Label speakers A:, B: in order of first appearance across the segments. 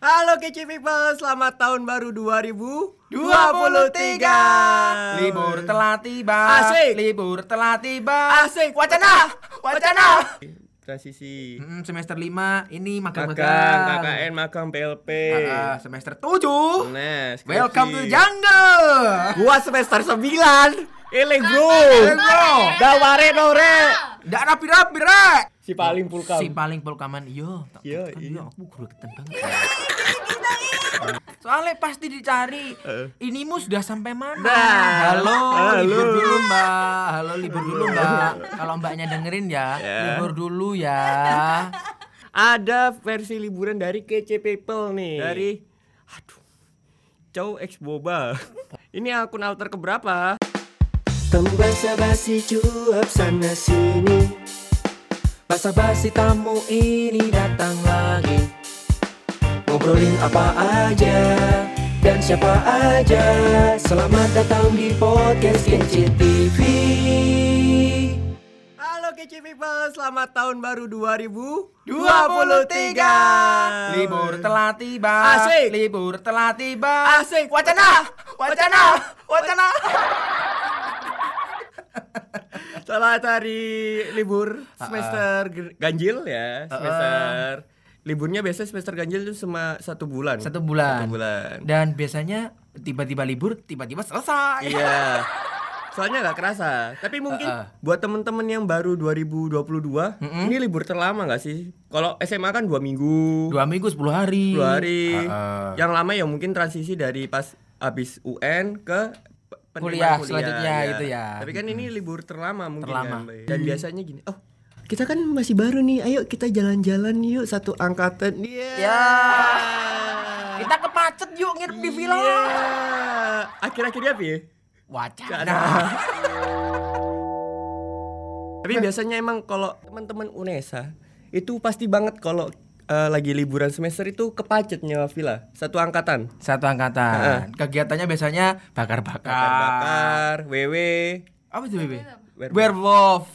A: Halo Kece People, selamat tahun baru 2023.
B: 23 Libur telah tiba
A: Asik.
B: Libur telah tiba
A: Asik.
B: Wacana Wacana
A: transisi.
B: Mm, Semester 5 ini
A: Magang,
B: magang-magang
A: KKN, magang PLP.
B: Ah, Semester 7
A: Nah, skripsi.
B: Welcome to the jungle
A: Gua semester 9. Eleng bro.
B: Eleng, bro.
A: Daware nore.
B: Nggak rapi-rapi rek
A: Si paling pulkam.
B: Si paling pulkaman Iya tak
A: Iya,
B: kan,
A: iya.
B: Aku gregetan banget Soalnya pasti dicari
A: Heeh.
B: Inimu sudah sampai mana
A: Nah.
B: Halo,
A: Eh. Halo.
B: libur dulu mbak Halo libur dulu mbak Kalau mbaknya dengerin ya
A: Ya.
B: Libur dulu ya
A: Ada versi liburan dari Kece People nih. Dari aduh. Cow ex boba. Ini akun alter keberapa?
C: Temu basa-basi cuap sana sini Basa-basi tamu ini datang lagi Ngobrolin apa aja dan siapa aja Selamat datang di podcast Kece TV
A: Halo Kece People, selamat tahun baru 2023.
B: 23 Libur telah tiba
A: Asik.
B: Libur telah tiba
A: Asik.
B: Wacana Wacana Wacana
A: Setelah hari libur semester ger- Ah, ganjil ya, semester liburnya biasanya semester ganjil itu cuma satu bulan.
B: Satu bulan.
A: Satu bulan.
B: Dan biasanya tiba-tiba libur Tiba-tiba selesai
A: Iya. Soalnya nggak kerasa. Tapi mungkin
B: Heeh.
A: buat temen-temen yang baru 2022, ini libur terlama nggak sih? Kalau SMA kan dua minggu,
B: Dua minggu 10 hari
A: dua hari.
B: Heeh.
A: Yang lama ya mungkin transisi dari pas abis UN ke pe- penerimaan
B: Kuliah selanjutnya gitu ya.
A: Tapi kan ini libur terlama mungkin
B: Terlama.
A: kan, Mbak? Dan biasanya gini, oh kita kan masih baru nih, ayo kita jalan-jalan yuk satu angkatan. Iya.
B: Ya. Kita kepacet yuk nginep di villa.
A: Iya. Akhir-akhirnya apa ya? Nah.
B: Wacana.
A: Tapi biasanya emang kalau teman-teman UNESA itu pasti banget kalau eh, lagi liburan semester itu kepacet nyewa villa satu angkatan.
B: Satu angkatan. Kegiatannya biasanya bakar-bakar.
A: Bakar, WW,
B: Apa itu, Bebe?
A: Werewolf.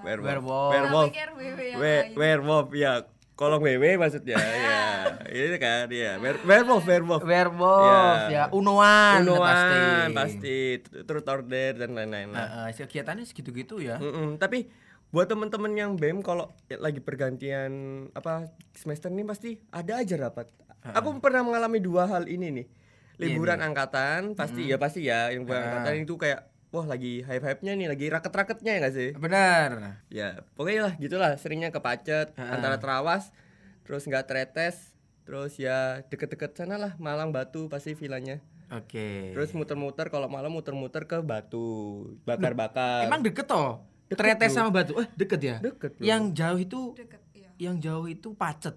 A: Werewolf,
B: ya.
A: werewolf.
B: Werewolf.
A: Werewolf.
D: Pikir wewe yang gitu.
A: We-
D: lain.
A: werewolf ya. Kolong WW maksudnya ya. Ini kan ya. Wer- Werewolf, werewolf.
B: Werewolf
A: Ya.
B: ya. Unoan pasti.
A: Unuan pasti, truth order dan lain-lain. lah.
B: Heeh, kegiatannya segitu-gitu ya.
A: Mm-mm, tapi buat temen-temen yang BEM kalau lagi pergantian apa semester ini pasti ada aja rapat. Aku pernah mengalami dua hal ini nih.
B: Iya
A: Liburan angkatan pasti ya pasti ya yang liburan angkatan itu kayak wah lagi hype-hype-nya nih, lagi raket-raketnya ya gak sih?
B: Benar.
A: Ya, pokoknya lah gitulah seringnya kepacet antara terawas terus nggak teretes terus ya deket-deket sana lah Malang Batu pasti vilanya
B: Oke.
A: terus muter-muter kalau malam muter-muter ke Batu bakar-bakar
B: Emang deket toh?
A: eh, Deket,
B: Tretes
A: Bro.
B: sama batu. Eh, deket ya?
A: Deket, Bro.
B: Yang jauh itu
D: deket ya
B: yang jauh itu pacet.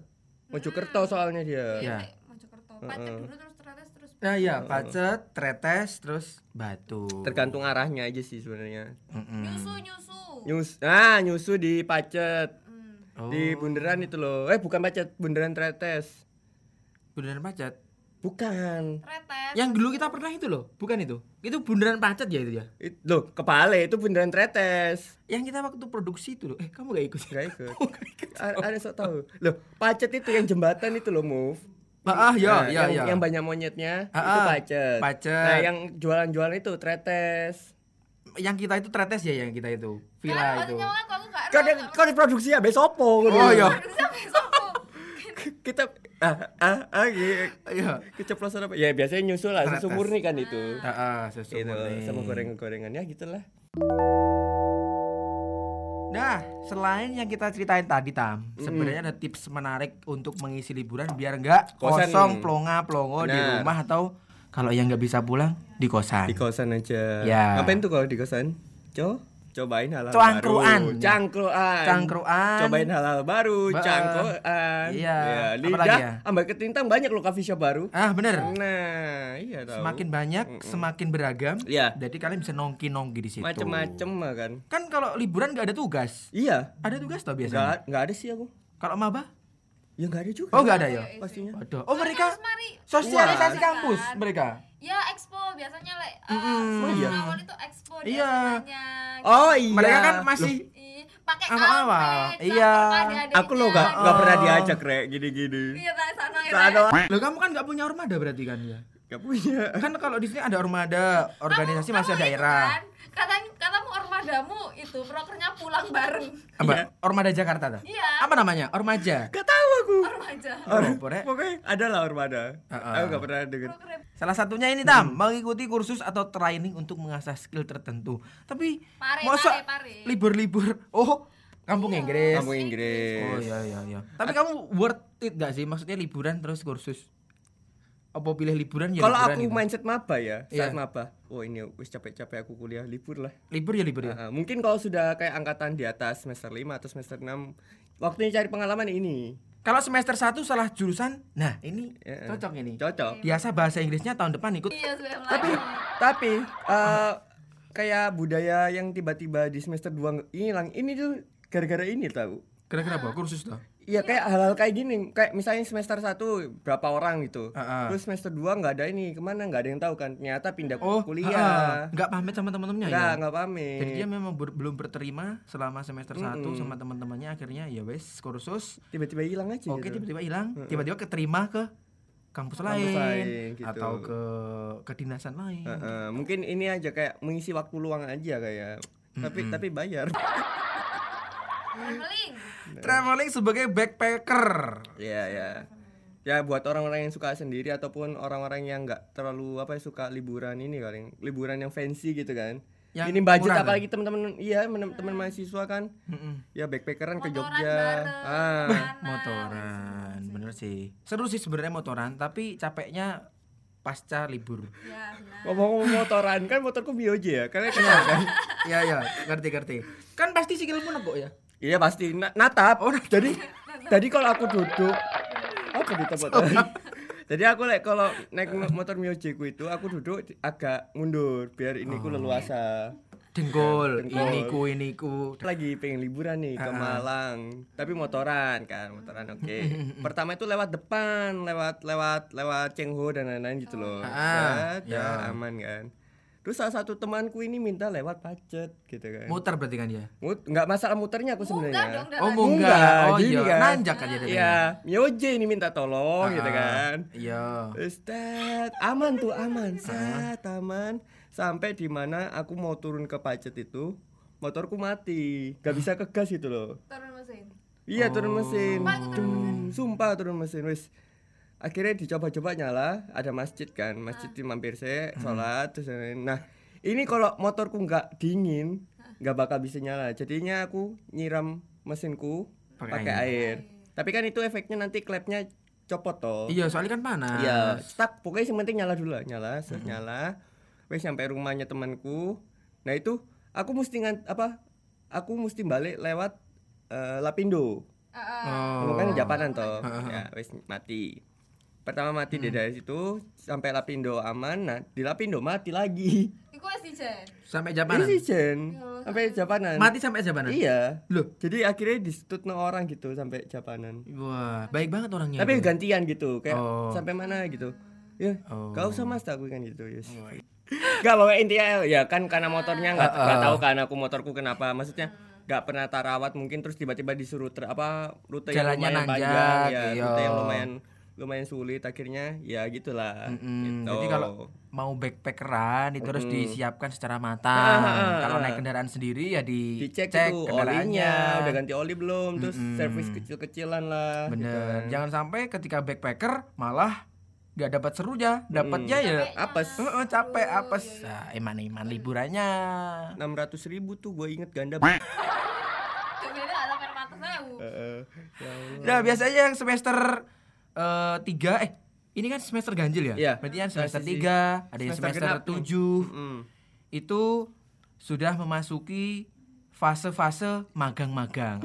A: Mojokerto soalnya dia
B: Iya.
D: Kayak Mojokerto pacet dulu terus ternyata terus
B: Nah, iya, pacet, tretes, terus batu.
A: Oh. tergantung arahnya aja sih sebenarnya
B: Mm-mm.
D: nyusu nyusu
A: nyus ah nyusu di pacet
D: Hmm.
B: Oh.
A: di bundaran itu loh eh bukan pacet bundaran tretes
B: Bundaran Pacet.
A: bukan
D: retes
B: Yang dulu kita pernah itu loh, bukan itu. Itu Bundaran Pacet ya itu ya.
A: It, loh kepale itu bundaran tretes
B: Yang kita waktu produksi itu loh. Eh, kamu gak ikut?
A: Gak ikut. A- ada sok tahu loh pacet itu yang jembatan itu loh move
B: Ah,
A: Nah,
B: ya, ya,
A: yang,
B: ya.
A: yang banyak monyetnya
B: Ah,
A: itu
B: ah,
A: pacet.
B: Pacet.
A: Nah, yang jualan-jualan itu tretes.
B: Yang kita itu tretes ya yang kita itu. Villa
D: Karena
B: itu.
D: waktu nyawa aku aku nggak
A: Kau di, kau di produksi ya besopo.
B: Oh, iya.
A: Kita ah ah ah iya.
B: Iya.
A: keceplosan apa? Ya biasanya nyusul lah susu
B: Tretes.
A: murni kan itu.
B: Heeh, susu
A: gitu
B: murni.
A: sama gorengan-gorengan ya gitulah.
B: Nah, selain yang kita ceritain tadi Tam, sebenarnya ada tips menarik untuk mengisi liburan biar nggak
A: Kosan.
B: kosong plonga-plongo di
A: Benar.
B: rumah atau kalau yang nggak bisa pulang di kosan.
A: Di kosan aja.
B: Ya.
A: Ngapain tuh kalau di kosan? Co cobain hal-hal
B: Cangkruan.
A: baru. Cangkruan.
B: Cangkruan.
A: Cobain hal-hal baru,
B: Ba-
A: cangkruan.
B: Iya.
A: Ya,
B: Apa
A: lidah
B: lagi ya?
A: ambak ketintang banyak loh coffee shop baru.
B: Ah, bener.
A: Nah, iya tahu.
B: Semakin gitu. banyak, semakin beragam.
A: Iya.
B: Jadi kalian bisa nongki-nongki di situ.
A: macem-macem lah kan.
B: Kan kalau liburan nggak ada tugas.
A: Iya.
B: Ada tugas toh biasanya.
A: Nggak nggak ada sih aku.
B: Kalau maba?
A: Ya nggak ada juga.
B: Oh nggak ada ya.
A: Pastinya.
B: Waduh. Oh mereka
D: mari
B: sosialisasi
D: Wah.
B: kampus mereka.
D: ya expo biasanya like eh,
B: Mm-mm.
D: semester
B: Iya.
D: awal itu expo
B: Iya.
D: biasanya
A: Oh iya.
B: Mereka kan masih
D: Ih, pakai
B: Awal-awal.
D: awal
B: Iya.
A: Aku loh nggak nggak pernah diajak rek gini-gini.
D: iya tak sana
A: Sano
B: Loh kamu kan nggak punya ormada berarti kan ya?
A: gak punya.
B: Kan kalau di sini ada ormada, organisasi
D: Kamu-
B: masih
D: kamu itu
B: daerah.
D: kan, Katanya katamu ormadamu itu prokernya pulang bareng.
B: Apa?
A: Iya.
B: Ormada Jakarta tuh?
D: Iya.
B: Apa namanya? Ormaja.
A: Gak tahu aku.
D: Ormaja.
B: Or-
A: Or-
B: Pokoknya-
A: Pokoknya ada lah Ormada.
B: Heeh.
A: Aku gak pernah denger.
D: Proker
B: Salah satunya ini
A: Hmm.
B: Tam, mengikuti kursus atau training untuk mengasah skill tertentu. Tapi
D: Pare,
B: masa
D: pare, pare. Iya.
B: libur-libur. Oh, kampung Inggris.
A: Kamu Inggris.
B: Oh iya iya iya. Tapi kamu worth it gak sih? Maksudnya liburan terus kursus. Apa pilih liburan ya
A: Kalau
B: liburan
A: aku
B: gitu.
A: mindset maba ya, saat
B: Iya.
A: maba. Oh ini wis capek-capek aku kuliah libur lah.
B: libur ya libur ya.
A: Nah, mungkin kalau sudah kayak angkatan di atas semester 5 atau semester 6 waktunya cari pengalaman ini
B: Kalau semester 1 salah jurusan, nah ini
A: Iya.
B: cocok ini.
A: cocok.
B: Biasa bahasa Inggrisnya tahun depan ikut.
D: Iya, sudah mulai.
A: Tapi tapi eh, kayak budaya yang tiba-tiba di semester 2 hilang ini tuh gara-gara ini tahu.
B: Kira-kira apa? Kursus toh?
A: Iya kayak hal-hal kayak gini, kayak misalnya semester 1 berapa orang gitu.
B: Heeh.
A: Terus semester 2 nggak ada ini, kemana nggak ada yang tahu kan. Ternyata pindah
B: Oh,
A: kuliah.
B: Enggak pamit sama teman-temannya ya.
A: Nggak, nggak pamit.
B: Jadi dia memang ber- belum berterima selama semester 1 sama teman-temannya akhirnya ya wes kursus.
A: Tiba-tiba hilang aja
B: Oke,
A: gitu.
B: tiba-tiba hilang, tiba-tiba keterima ke kampus
A: Kampus
B: lain,
A: lain, gitu.
B: atau ke kedinasan lain.
A: Heeh, mungkin ini aja kayak mengisi waktu luang aja kayak. Tapi tapi bayar.
D: traveling.
B: Traveling sebagai backpacker.
A: Iya ya. Ya buat orang-orang yang suka sendiri ataupun orang-orang yang nggak terlalu apa ya suka liburan ini paling liburan yang fancy gitu kan.
B: Yang
A: ini budget
B: murah, kan?
A: apalagi teman-teman iya teman teman mahasiswa kan.
B: Mm-mm.
A: Ya backpackeran ke
D: Motoran
A: Jogja.
D: bareng,
A: Ah.
D: kemana.
B: Motoran, bener sih. Seru sih sebenarnya motoran, tapi capeknya pasca libur.
D: Iya, benar.
A: Ngomong motoran kan motorku Bioje ya. Kalian kenal kan?
B: Iya iya, ngerti ngerti. Kan pasti sikilmu negok ya.
A: Iya pasti Na- natap. Oh, jadi tadi kalau aku duduk apa di tempat tadi? Jadi aku like kalau naik mo- motor Mioje ku itu aku duduk di- agak mundur biar ini ku leluasa.
B: Dengkul,
A: Dengkul.
B: iniku iniku.
A: Lagi pengen liburan nih ke Malang, tapi motoran kan, motoran oke. Pertama itu lewat depan, lewat lewat lewat Cengho dan lain-lain gitu loh.
B: Ah,
A: Set,
B: ya.
A: ya aman kan. Terus salah satu temanku ini minta lewat pacet gitu kan.
B: Muter berarti kan ya.
A: Mut nggak masalah muternya aku
D: Munggah
A: sebenarnya.
D: dong dalam.
B: Oh,
A: Munggah,
B: munggah. Oh
A: gini
B: iya,
A: kan.
B: nanjak aja dari.
A: Iya, Mioje ini minta tolong gitu kan.
B: Iya.
A: Ustad, aman tuh aman, set aman. Sampai di mana aku mau turun ke Pacet itu, motorku mati, gak bisa ke gas gitu loh.
D: Turun mesin.
A: Iya turun mesin,
D: Sumpah, itu turun
A: Dung, sumpah turun mesin, wis. Akhirnya dicoba-coba nyala, ada masjid kan, masjid di mampir saya, sholat terus lain-lain. Nah, ini kalau motorku nggak dingin, nggak bakal bisa nyala. Jadinya aku nyiram mesinku
B: Pakai
A: pakai air. Tapi kan itu efeknya nanti klepnya copot toh.
B: Iya, soalnya kan panas.
A: Oh. Iya, stuck. Pokoknya yang penting nyala dulu lah, nyala, set, nyala. Wes sampai rumahnya temanku. Nah, itu aku mesti ngan, apa? Aku mesti balik lewat eh, Lapindo.
D: Heeh.
A: Kamu
B: Oh.
A: kan Japanan toh. Ya, wes mati. Pertama mati
B: Hmm.
A: dia dari situ sampai Lapindo aman. Nah, di Lapindo mati lagi.
D: Iku wis dijen.
B: Sampai
A: Ini
B: Japanan.
A: sih Jen sampai Japanan.
B: Mati sampai Japanan.
A: Iya.
B: Loh.
A: Jadi akhirnya disetutno orang gitu sampai Japanan.
B: Wah, baik banget orangnya.
A: Tapi
B: itu.
A: gantian gitu, kayak
B: Iya, Oh.
A: sampai mana gitu. Ya,
B: Oh. iya.
A: gak usah mas aku kan gitu. Yes. Gak pokoknya intinya ya kan karena motornya
B: Ah,
A: nggak nggak tahu kan aku motorku kenapa maksudnya nggak pernah tarawat mungkin terus tiba-tiba disuruh ter, apa rute
B: Jalannya
A: yang lumayan
B: nanjak,
A: panjang ya
B: iya.
A: rute yang lumayan lumayan sulit akhirnya ya gitulah
B: Mm,
A: gitu.
B: Jadi kalau mau backpackeran itu harus disiapkan secara matang. Kalau naik kendaraan sendiri ya di
A: dicek
B: cek
A: itu
B: kendaraannya.
A: olinya udah ganti oli belum terus servis kecil-kecilan lah gitu.
B: Bener. Jangan sampai ketika backpacker malah nggak dapat serunya, dapatnya ya
A: apes
B: Heeh, capek apes. Nah, iman-iman liburannya.
A: enam ratus ribu tuh gue inget ganda
D: Kebeda ada permata sewu.
A: Heeh. Ya Allah.
B: Nah, biasanya yang semester eh, tiga eh ini kan semester ganjil ya?
A: Iya.
B: Berarti kan semester
A: Transisi.
B: tiga ada yang
A: Semester
B: semester
A: genap.
B: tujuh
A: Mm.
B: itu sudah memasuki fase-fase magang-magang.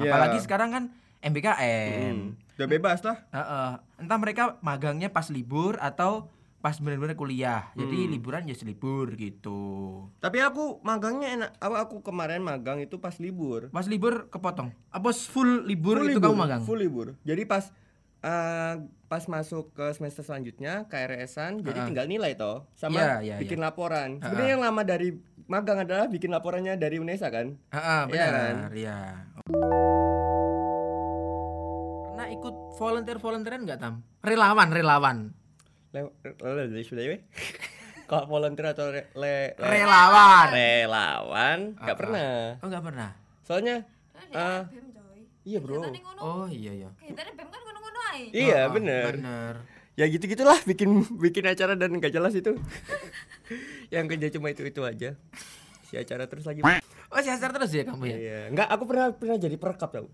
A: Iya. Hmm.
B: Apalagi sekarang kan MBKM.
A: udah bebas lah
B: Heeh. Entah mereka magangnya pas libur atau pas benar-benar kuliah.
A: Hmm.
B: Jadi liburan ya selibur gitu.
A: tapi aku magangnya enak apa aku kemarin magang itu pas libur
B: Pas libur kepotong. Apa full libur
A: Full
B: itu
A: libur,
B: kamu magang?
A: full libur jadi pas eh, pas masuk ke semester selanjutnya KRS-an jadi tinggal nilai toh sama
B: Iya, iya,
A: bikin laporan sebenarnya yang lama dari magang adalah bikin laporannya dari UNESA kan
B: Heeh,
A: Iya
B: benar. Iya. Pernah ikut volunteer volunteeran nggak tam relawan relawan
A: Le- le- le- le- kalau volunteer atau re- le- le-
B: relawan
A: relawan nggak
B: Apa?
A: pernah
B: oh nggak pernah
A: soalnya
D: Kan ya,
A: eh,
D: BEM coy.
A: iya bro
D: Kegiatannya ngono.
B: oh iya iya
D: Kegiatannya BEM kan ngono-ngono ae.
A: iya
B: Ah,
A: bener
B: bener
A: ya gitu gitulah bikin bikin acara dan nggak jelas itu yang kerja cuma itu itu aja si acara terus lagi
B: oh sesar terus ya kamu ya
A: iya nggak aku pernah pernah jadi perkap tau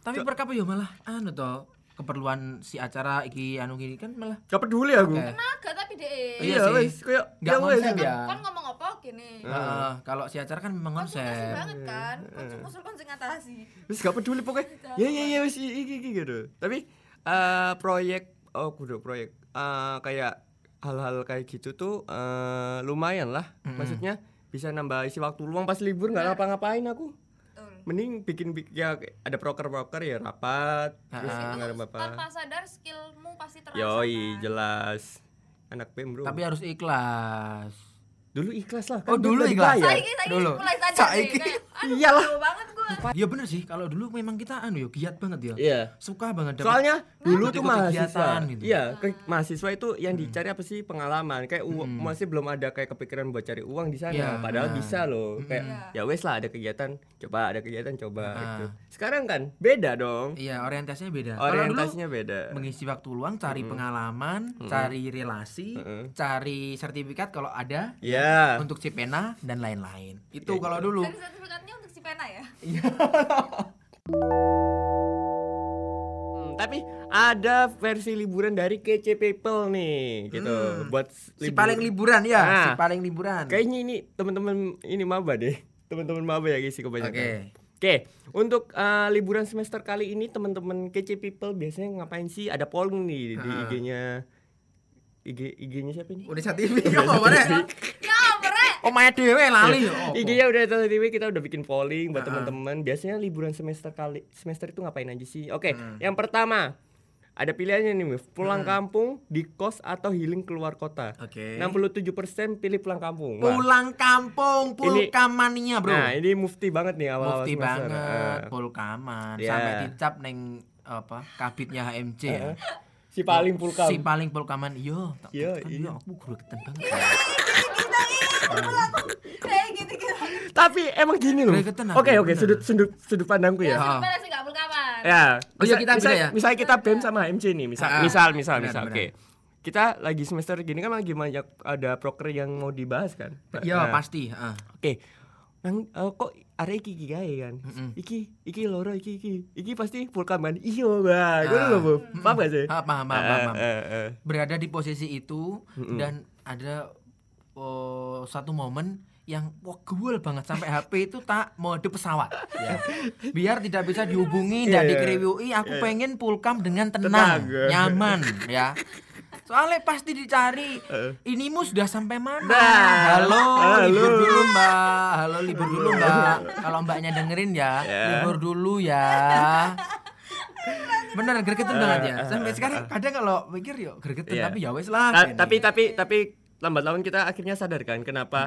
B: tapi perkap ya malah anu toh keperluan si acara iki anu gini kan malah
A: nggak peduli aku
B: Oke.
D: Naga tapi deh.
A: iya
B: Iya sih.
A: wes kayak
B: nggak
A: yang
B: konsep
A: wes.
B: ya
D: Kan ngomong apa gini.
A: Eh,
B: Heeh, kalau si acara kan memang
D: Konsultasi
B: konsep
D: banget kan. Konsul
A: Eh.
D: konsul konsul ngatasi.
A: terus gak peduli pokoknya ya ya ya wis i- iki iki gitu tapi eh proyek oh kudu proyek eh kayak hal-hal kayak gitu tuh eh lumayan lah maksudnya bisa nambah isi waktu luang pas libur
B: Nah.
A: nggak ngapa-ngapain aku
D: Betul.
A: mending bikin bikin ya ada proker-proker ya rapat terus
B: Ah.
A: nggak ada
D: Itu
A: apa
D: tanpa sadar skillmu pasti terasa.
A: yoi
D: kan?
A: jelas anak pem bro
B: tapi harus ikhlas
A: dulu ikhlas lah
B: Oh,
A: kan
B: dulu
A: belum
B: ikhlas.
A: dibayar.
D: Saiki saiki
B: Dulu.
D: mulai sadar deh
B: Saiki.
D: kayak aduh
A: Iyalah.
D: bodoh banget gua.
B: ya bener sih kalau dulu memang kita anu ya giat banget ya
A: iya
B: suka banget dapat
A: soalnya dulu
B: ikut
A: tuh
B: kegiatan
A: mahasiswa
B: gitu. Hmm.
A: iya ke- mahasiswa itu yang dicari apa sih pengalaman kayak u- masih belum ada kayak kepikiran buat cari uang di sana
B: Iya,
A: padahal
B: benar. Hmm.
A: bisa loh kayak ya wes lah ada kegiatan coba ada kegiatan coba gitu. sekarang kan beda dong
B: Ah. iya orientasinya beda kalau dulu
A: orientasinya beda
B: mengisi waktu luang cari pengalaman cari relasi cari sertifikat kalau ada
A: ya
B: untuk Cipena dan lain-lain itu
A: Iya,
B: kalau
A: gitu.
B: dulu
D: Dari sertifikatnya untuk si pena ya.
A: Hmm, tapi ada versi liburan dari kece people nih gitu buat s-
B: Hmm. si
A: libur.
B: paling liburan ya
A: Ah.
B: si paling liburan
A: kayaknya ini teman-teman ini maba deh teman-teman maba ya isi kebanyakan
B: Oke.
A: Oke, untuk eh, liburan semester kali ini teman-teman kece people biasanya ngapain sih? Ada polling nih di
B: Ah.
A: IG-nya IG IG-nya siapa ini?
B: Unesa TV ya kok mana
D: Ya bre.
B: oh main dewe lali ya apa?
A: IG-nya udah tahu TV kita udah bikin polling buat teman-teman. Biasanya liburan semester kali semester itu ngapain aja sih? Oke,
B: Hmm.
A: yang pertama ada pilihannya nih, Mif. pulang kampung, di kos atau healing keluar kota.
B: Oke.
A: 67% pilih pulang kampung. Wah.
B: pulang kampung
A: Ini-
B: pulkamania bro
A: Nah, ini mufti banget nih awal-awal
B: Mufti
A: semester.
B: banget,
A: Ah.
B: pulkaman,
A: Ya.
B: sampai dicap neng apa kabitnya HMC ya.
A: si paling pulkam.
B: Si paling pulkaman, yo, tak
A: Yo,
B: pulkan,
A: iya.
B: yo, aku gregetan banget.
A: Iya.
D: Kayak gitu-gitu.
A: Tapi emang gini loh.
B: Gregetan aku,
A: Oke, oke,
B: bener.
A: sudut sudut sudut pandangku ya.
B: Ah.
D: Pena sih enggak berkawan.
A: Ya,
B: Oh iya,
A: misa-
B: kita
A: misa-
B: beda ya?
A: Misalnya kita BEM sama MC nih, misal
B: Ah, ah.
A: misal misal,
B: Benar,
A: misal,
B: benar.
A: Oke. Kita lagi semester gini kan lagi banyak ada proker yang mau dibahas kan.
B: Yo,
A: Nah,
B: pasti, heeh.
A: Oke. Nang eh, kok arek iki iki gawe kan. Iki iki loro iki iki. Iki pasti pulkam kan. Iyo, Bang. Ngono lho, Bu. Paham gak sih?
B: Ah, paham, paham,
A: Eh,
B: paham, paham.
A: eh, eh.
B: Berada di posisi itu dan ada oh, satu momen yang wah gewel banget sampai HP itu tak mode pesawat ya. biar tidak bisa dihubungi
A: Iya,
B: tidak
A: iya.
B: dikriwui aku pengen pulkam dengan tenang,
A: Tenang.
B: nyaman ya soalnya pasti dicari inimu sudah sampai
A: Eh.
B: mana
A: Nah.
B: halo,
A: Halo.
B: libur dulu mbak halo libur dulu mbak kalau mbaknya dengerin ya libur dulu ya bener gregetan
A: Eh,
B: banget ya sampai sekarang kadang kalau mikir yuk gregetan
A: Iya.
B: tapi ya wes lah
A: Ta-
B: kene.
A: tapi tapi tapi lambat laun kita akhirnya sadar kan kenapa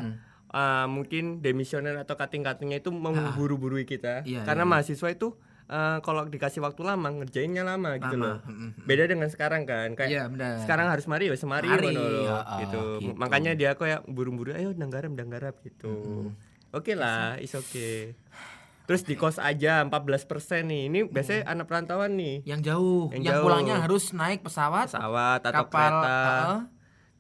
A: uh, mungkin demisioner atau kating-katingnya itu memburu-burui kita
B: Iya,
A: karena
B: iya,
A: mahasiswa itu uh, kalau dikasih waktu lama ngerjainnya lama gitu loh.
B: Lama, mm,
A: Beda dengan sekarang kan kayak
B: Iya, benar.
A: sekarang harus mari ya semari
B: Mari,
A: ngono loh,
B: ya, ah,
A: gitu.
B: gitu.
A: Makanya dia kayak buru-buru ayo danggarap danggarap gitu. Oke lah, is oke. Terus di kos aja 14% nih. Ini biasanya anak perantauan nih.
B: yang jauh yang,
A: Yang jauh.
B: pulangnya harus naik pesawat
A: pesawat atau
B: Kapal,
A: kereta
B: heeh.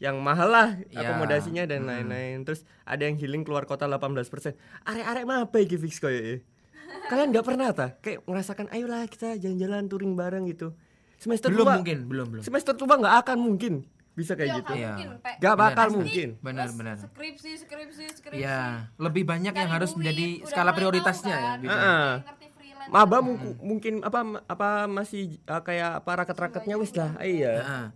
A: yang mahal lah
B: Ya.
A: akomodasinya dan lain-lain terus ada yang healing keluar kota 18% arek-arek mah apa iki fix koyo kalian nggak pernah ta kayak merasakan ayolah kita jalan-jalan touring bareng gitu semester
B: belum
A: tua
B: mungkin belum belum
A: semester tua nggak akan mungkin bisa
D: Ya,
A: kayak gitu
D: nggak
B: Iya.
D: mungkin, Pe.
A: nggak bakal
B: Pasti.
A: mungkin
B: benar
D: Terus
B: benar
D: Skripsi, skripsi, skripsi.
B: ya lebih banyak yang
D: Cari
B: harus
D: duit,
B: menjadi
D: udah
B: skala
D: mulai
B: prioritasnya
D: tahu
B: ya
D: kan.
B: Bima.
A: Heeh. Ah.
D: Ngerti freelance.
A: maba mungku- mungkin apa apa masih ah, kayak apa raket-raketnya wis lah iya
B: Heeh.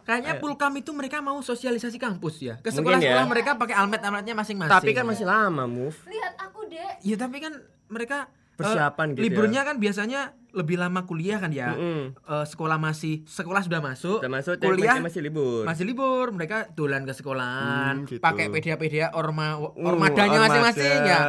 B: Kayaknya pulkam itu mereka mau sosialisasi kampus ya.
A: Eh. Mungkin
B: Ke sekolah-sekolah
A: ya.
B: Ah,
A: kan
B: mereka pakai almet-almetnya masing-masing.
A: tapi kan masih lama move
D: Lihat aku, Dek. Iya,
B: Ya tapi kan mereka
A: Persiapan
B: eh,
A: gitu ya.
B: Liburnya kan biasanya lebih lama kuliah kan ya.
A: Mm-mm.
B: Eh, sekolah masih sekolah sudah masuk,
A: Sudah masuk, tapi
B: kuliah
A: masih- masih libur.
B: Masih libur, mereka dolan ke sekolahan,
A: Hmm, gitu.
B: pakai pedia-pedia orma
A: Uh,
B: ormadanya
A: ormada.
B: masing-masing ya.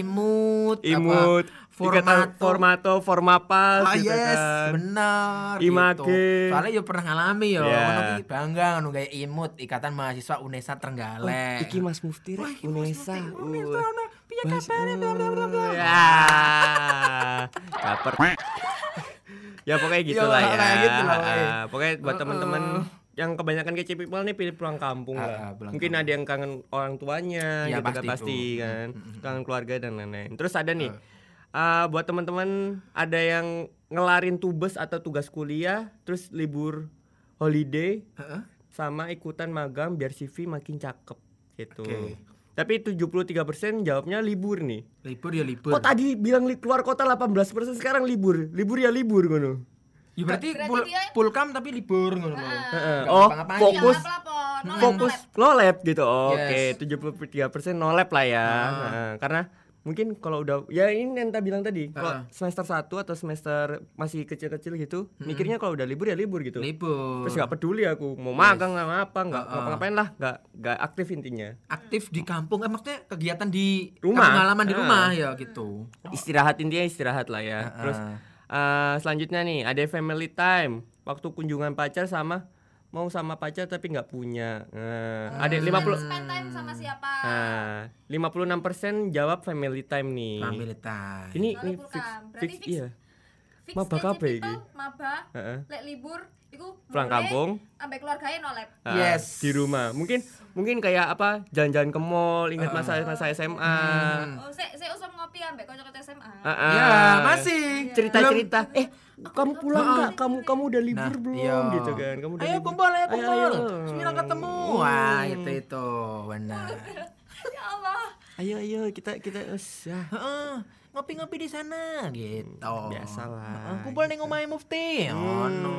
B: Imut, apa,
A: imut ikatan
B: formato,
A: formato formapas
B: Ah
A: gitu
B: yes,
A: kan.
B: bener
A: Image.
B: gitu. Soalnya yo pernah ngalami yo,
A: Ya.
B: ngono ki bangga ngono kayak imut Ikatan Mahasiswa Unesa Trenggalek.
A: Oh, iki Mas Mufti
B: Wah,
A: rek
B: iki Mas
A: Unesa
B: Mufti,
A: uh.
B: Unesa, ono, piye
A: Bas-
B: kabare, bla, bla, bla, bla.
A: Ya. Caper. ya pokoknya gitu
B: Ya,
A: lah ya
B: kayak gitu lah,
A: Ah,
B: weh.
A: pokoknya buat
B: Heeh.
A: temen-temen yang kebanyakan kece people nih pilih pulang kampung
B: Ah,
A: lah.
B: ah, pulang
A: mungkin
B: kampung.
A: ada yang kangen orang tuanya
B: Ya,
A: gitu kan
B: pasti
A: pasti
B: tuh.
A: kan kangen keluarga dan lain-lain terus ada nih ah, buat temen-temen ada yang ngelarin tubes atau tugas kuliah terus libur holiday
B: Heeh.
A: sama ikutan magang biar CV makin cakep gitu.
B: Oke.
A: Tapi 73% jawabnya libur nih.
B: Libur ya libur.
A: Kok tadi bilang li- keluar kota 18% sekarang libur. Libur ya libur ngono.
B: Ya berarti,
D: Berarti
B: pul-
D: dia-
B: pulkam tapi libur ngono.
A: Heeh.
B: Nggak
A: Oh,
B: ngapa-ngapain.
A: fokus
D: Iya, ngelap-lapon,
B: Hmm.
D: nolep,
A: fokus nolep gitu.
B: Yes. Ah.
A: Oke, 73% nolep lah ya. Nah, karena mungkin kalau udah ya ini yang tadi bilang tadi, kalau
B: Ah.
A: semester 1 atau semester masih kecil-kecil gitu, mikirnya kalau udah libur ya libur gitu.
B: Hmm. Libur.
A: Terus nggak peduli aku mau magang nggak apa, nggak
B: Ah, ah.
A: ngapa-ngapain lah, nggak nggak aktif intinya.
B: Aktif di kampung, eh, maksudnya kegiatan di
A: Rumah.
B: kampung halaman di
A: Ah.
B: rumah ya gitu.
A: istirahat intinya Oh. istirahat lah ya.
B: Heeh.
A: Terus eh, selanjutnya nih ada family time, waktu kunjungan pacar sama mau sama pacar tapi nggak punya. Nah, ada
D: Spend-
A: 50
D: spend time sama siapa?
A: Nah, 56% jawab family time nih.
B: Pamilitan.
A: Ini
D: Soalnya
A: ini
D: pulkam.
A: fix,
D: Berarti
A: fix,
D: fix.
A: iya.
D: Fix
A: maba
D: kece
A: kabeh
D: people,
A: iki.
D: maba,
A: Heeh.
D: lek libur iku
A: Pulang
D: mulai
A: kampung.
D: ambek keluarganya nolep.
A: Ah,
B: Yes.
A: Di rumah. Mungkin mungkin kayak apa? Jalan-jalan ke mall, ingat masa masa SMA.
B: Hmm.
D: Oh, saya saya usah ngopi ambek kanca-kanca SMA.
A: Ah, ah.
B: Ya, masih
A: cerita-cerita eh kamu pulang nggak kamu kamu udah libur
B: Nah,
A: belum
B: iya.
A: gitu kan kamu udah
B: ayo
A: libur.
B: kumpul ayo kumpul
A: ayo. Hmm.
B: sembilan ketemu wah itu itu benar
D: Ya Allah.
A: ayo ayo kita kita ya. usah
B: Heeh, ngopi-ngopi di sana gitu
A: Hmm, Biasalah. gitu. Hmm.
B: Heeh, kumpul nih omah mufti oh no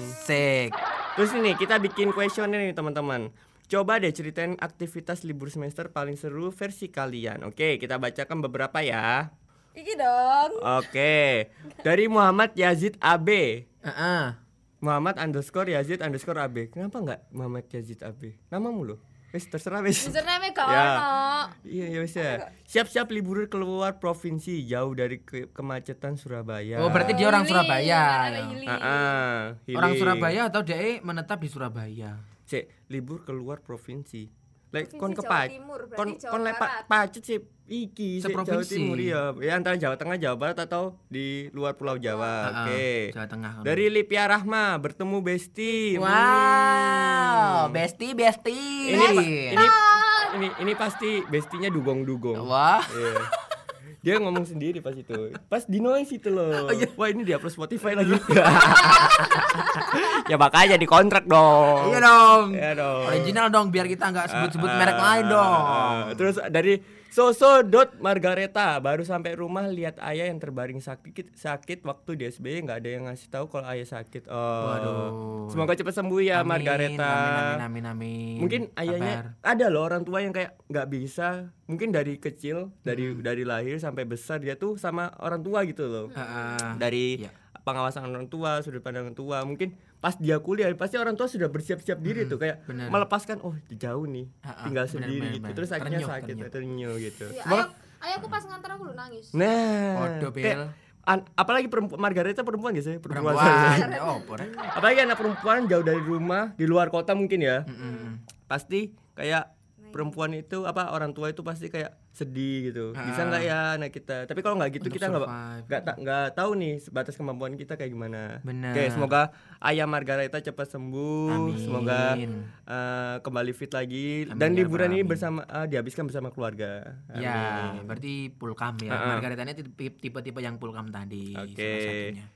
B: sek
A: terus ini kita bikin kuesioner nih teman-teman coba deh ceritain aktivitas libur semester paling seru versi kalian oke kita bacakan beberapa ya
D: Iki dong.
A: oke dari Muhammad Yazid AB
B: Heeh.
A: Muhammad underscore Yazid underscore AB kenapa nggak Muhammad Yazid AB namamu loh wes terserah wes
D: Username gak
A: Ya.
D: ono.
A: Iya, iya bisa. Siap-siap libur keluar provinsi jauh dari ke- kemacetan Surabaya.
B: oh berarti dia orang
D: Hili,
B: Surabaya ya?
D: ada Hili.
A: Ah, ah,
B: orang
A: hilir.
B: Surabaya atau dia menetap di Surabaya
A: Cek, libur keluar provinsi. Lek
D: Provinsi
A: kon ke
D: Jawa
A: pa-
D: Timur, berarti
A: kon
D: Jawa
A: kon lek pa-
D: Barat.
A: pacet sih iki sih Jawa
B: Seprovinsi.
A: Timur ya. Ya antara Jawa Tengah, Jawa Barat atau di luar Pulau Jawa.
B: Heeh,
A: Oke.
B: Ah, Jawa Tengah
A: Dari Lipia Rahma bertemu Besti.
B: wow
A: Hmm.
B: besti besti
A: Ini ini ini ini pasti Bestinya dugong-dugong.
B: wah
A: Iya. Dia ngomong sendiri pas itu. Pas di noise itu
B: Oh,
A: loh.
B: iya.
A: Wah, ini di upload Spotify lagi. ya makanya dikontrak dong.
B: iya dong
A: Iya dong.
B: original dong biar kita nggak sebut-sebut
A: Ah,
B: merek
A: ah,
B: lain
A: ah,
B: dong
A: ah. Terus dari Soso dot Margareta baru sampai rumah lihat ayah yang terbaring sakit sakit waktu di SBY nggak ada yang ngasih tahu kalau ayah sakit. Oh.
B: Waduh.
A: Semoga cepat sembuh ya
B: Amin,
A: Margareta.
B: amin amin amin amin
A: mungkin ayahnya
B: Sabar.
A: ada loh orang tua yang kayak nggak bisa mungkin dari kecil dari
B: Hmm.
A: dari lahir sampai besar dia tuh sama orang tua gitu loh
B: Ah, Heeh.
A: dari
B: Iya.
A: pengawasan orang tua sudut pandang orang tua mungkin pas dia kuliah pasti orang tua sudah bersiap-siap diri tuh kayak
B: bener.
A: melepaskan oh jauh nih
B: Ha-ha,
A: tinggal
B: bener,
A: sendiri
B: bener,
A: gitu
B: bener.
A: terus akhirnya
B: Terenyuh,
A: sakit
B: terenyuh.
A: terenyuh gitu
D: Ya,
A: Semoga-
D: ayo, ayo aku pas nganter aku lu nangis.
A: nah
B: Odo, Bel.
A: kayak- an- apalagi perempuan Margareta perempuan gak sih perempuan,
B: perempuan oh perempuan
A: apalagi anak perempuan jauh dari rumah di luar kota mungkin ya pasti kayak perempuan itu apa orang tua itu pasti kayak sedih gitu bisa nggak ya anak kita tapi kalau nggak gitu
B: Ah. Untuk
A: kita nggak
B: survive.
A: nggak ta- nggak tahu nih batas kemampuan kita kayak gimana
B: Benar.
A: Oke, semoga ayah Margareta cepat sembuh
B: Amin.
A: semoga eh, kembali fit lagi
B: Amin,
A: dan
B: ya
A: liburan
B: Rabbal
A: ini
B: Alamin.
A: bersama eh, dihabiskan bersama keluarga Amin.
B: ya berarti pulkam ya Margaretanya tipe- tipe-tipe yang pulkam tadi
A: Ah, Oke.
B: salah satunya.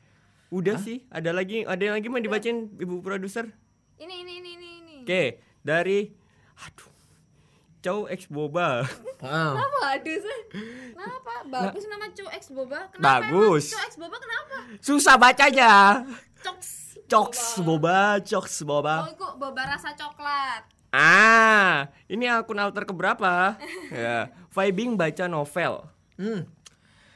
A: udah sih ada lagi ada yang lagi mau dibacain ibu produser
D: Ini ini ini ini ini.
A: oke dari aduh Chow ex boba
B: Heeh.
D: Kenapa aduh sih? Kenapa?
B: Nah.
D: Bagus nama cuek boba. Kenapa?
A: Bagus.
D: Cuek boba kenapa?
A: susah bacanya
D: Coks.
A: Coks boba, coks
B: Ah.
D: Oh,
A: boba.
D: iku boba rasa coklat.
A: Ah, ini akun alter keberapa? ya, vibing baca novel.
B: Hmm.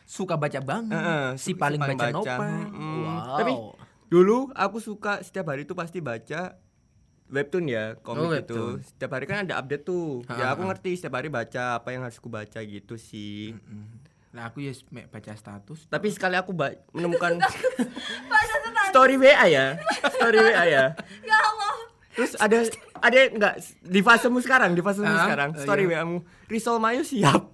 B: suka baca banget,
A: Heeh, su-
B: si paling baca, Nopal.
A: ah. Mm-mm.
B: Wow.
A: Mm. Tapi dulu aku suka setiap hari itu pasti baca webtoon ya, komik itu.
B: Oh, webtoon.
A: Setiap hari kan ada update tuh.
B: Ha,
A: ya
B: ha,
A: aku
B: ha.
A: ngerti setiap hari baca apa yang harus ku baca gitu sih.
B: Nah aku ya mek baca status.
A: Tapi sekali aku ba- menemukan
D: Baca setan.
A: story WA ya, story WA ya.
D: Ya Allah.
A: Terus ada ada enggak di fasemu sekarang, di fasemu
B: Ah,
A: sekarang,
B: eh,
A: story
B: iya.
A: WA-mu. Risol Mayu siap.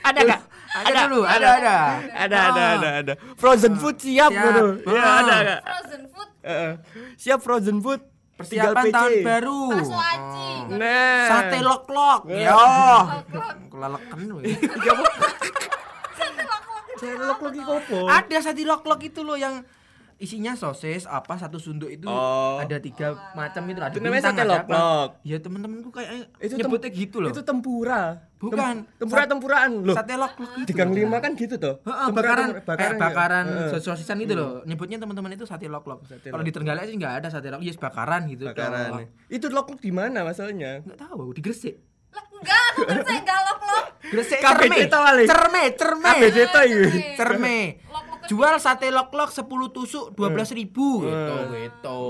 A: ada
B: Terus,
A: enggak?
B: Ada, dulu, ada Oh. ada.
A: Ada ada ada ada. Frozen food siap,
B: siap.
A: Bro. Iya,
B: Ah.
A: ada enggak?
D: Frozen food
A: Heeh. siap frozen food tinggal
B: Persiapan
A: PC.
B: tahun baru.
D: bakso aci.
A: Nah.
B: Sate lok-lok.
A: Ya.
B: Yo.
D: Lok-lok.
B: Keleleken loh.
A: Ya apa?
D: Sate lok-lok.
A: Celok lagi kopo.
B: Ada sate lok-lok itu loh yang isinya sosis apa satu sunduk itu
A: Oh.
B: ada tiga macam itu ada
A: Itu namanya
B: bintang,
A: sate
B: ada apa.
A: lok-lok.
B: ya temen-temenku kayak
A: Itu tem-
B: nyebutnya gitu loh
A: Itu tempura. Tem-
B: Bukan.
A: tempura-tempuraan loh.
B: sate lok-lok
A: Di
B: gitu
A: Gang
B: loh.
A: Lima kan gitu tuh.
B: Heeh,
A: Tempura-
B: bakaran,
A: tempura-
B: kayak
A: ya.
B: bakaran
A: Heeh. Hmm.
B: sos- sosisan gitu loh. Nyebutnya teman-teman itu sate lok-lok.
A: Sate
B: Kalau di Trenggalek sih nggak ada sate lok, yes bakaran gitu.
A: Bakaran.
B: doang.
A: Itu lok-lok di mana masalahnya?
B: Nggak tahu, di Gresik.
D: Lah enggak, aku kerja enggak lok-lok.
B: Gresik
A: KBD
B: cerme.
A: tau kali.
B: Cerme, cerme.
A: Kabeh deta iki.
D: Cerme.
B: Cerme.
D: Lok-lok
B: Jual sate lok-lok 10 tusuk 12 ribu gitu gitu.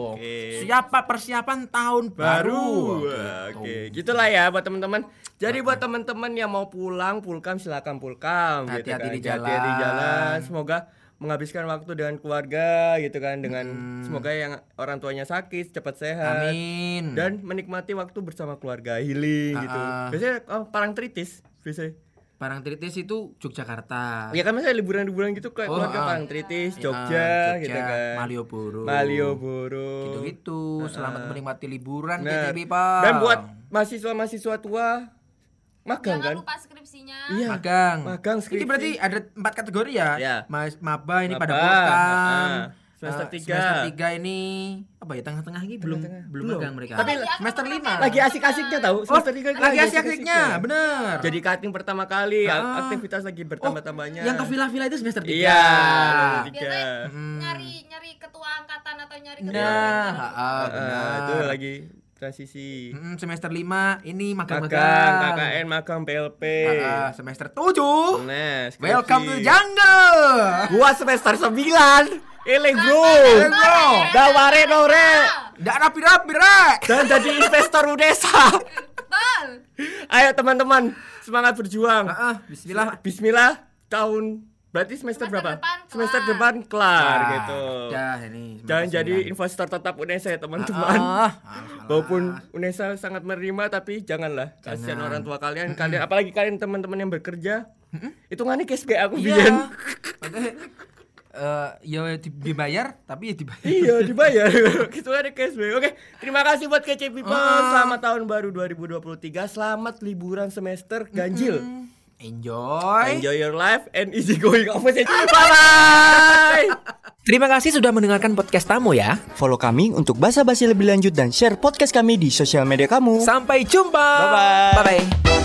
B: Siapa persiapan tahun baru. Gitu.
A: Wah, Oke, gitulah ya buat teman-teman. Jadi buat teman-teman yang mau pulang, pulkam silakan pulkam. gitu kan.
B: Hati-hati di
A: Hati-hati di jalan.
B: jalan.
A: Semoga menghabiskan waktu dengan keluarga gitu kan dengan semoga yang orang tuanya sakit cepat sehat
B: Amin.
A: dan menikmati waktu bersama keluarga healing gitu.
B: Ah, ah.
A: Biasanya oh, parang tritis biasanya.
B: Parang Tritis itu Yogyakarta.
A: Ya kan misalnya liburan-liburan gitu kayak
B: Ah. Oh,
A: keluarga
B: ah.
A: parang tritis,
B: Ah,
A: Jogja,
B: Jogja,
A: gitu kan.
B: Malioboro.
A: Malioboro. Ah.
B: Gitu-gitu. Selamat menikmati liburan
A: Nah,
B: KTP, Pak.
A: Dan buat mahasiswa-mahasiswa tua magang
D: Jangan
A: kan?
D: lupa skripsinya.
A: Iya.
B: magang.
A: Magang, skripsi.
B: Ini berarti ada empat kategori ya.
A: Iya.
B: Mas maba ini pada
A: Maba,
B: pulkam.
A: ah, semester
B: Eh,
A: tiga.
B: semester tiga ini apa ya tengah-tengah ini belum belum
A: Belum.
B: magang mereka.
A: Tapi
B: Tapi semester lima.
A: Lagi asik-asiknya tahu.
B: oh,
A: semester tiga ini
B: lagi asik-asiknya, bener.
A: Jadi cutting pertama kali,
B: Ah.
A: aktivitas lagi
B: Oh,
A: bertambah-tambahnya.
B: Yang ke vila-vila itu semester tiga.
A: Iya, semester tiga.
D: Biasanya
B: Hmm.
D: nyari nyari ketua angkatan atau nyari ketua
B: Nah,
D: angkatan.
B: ah, ah,
A: Ah, ah, itu
B: benar.
A: lagi transisi.
B: Mm, semester lima ini
A: Magang,
B: magang-magang.
A: KKN, magang PLP.
B: Ah, ah, semester tujuh.
A: Nah, skripsi.
B: Welcome to the jungle.
A: Gua semester 9. Eleng, Bro.
B: Eleng, bro.
A: Daware nore.
B: Nggak rapi-rapi, Rek.
A: Dan jadi investor Udesa.
D: Betul.
A: Ayo teman-teman, semangat berjuang.
B: Ah, ah, bismillah.
A: Bismillah tahun berarti semester,
D: Semester
A: berapa?
D: depan
A: semester
D: kelar.
A: depan kelar
B: Ah,
A: gitu.
B: Dah ini.
A: Jangan
B: semester
A: jadi
B: sembilan.
A: investor tetap UNESA ya teman-teman.
B: Ah,
A: Walaupun UNESA sangat menerima tapi janganlah kasihan
B: Jangan.
A: orang tua kalian, kalian apalagi kalian teman-teman yang bekerja. Hitungannya cash kayak aku
B: Iya.
A: biyen.
B: Makanya, eh, ya di- dibayar tapi ya dibayar.
A: Iya, dibayar. gitu ada cashback. Oke, terima kasih buat kece people.
B: Ah.
A: Selamat tahun baru 2023. Selamat liburan semester ganjil.
B: Enjoy.
A: Enjoy your life and easy going. Apa sih? Bye bye.
B: Terima kasih sudah mendengarkan podcast tamu ya.
C: Follow kami untuk basa-basi lebih lanjut dan share podcast kami di sosial media kamu.
B: Sampai jumpa.
A: Bye-bye.
B: Bye bye.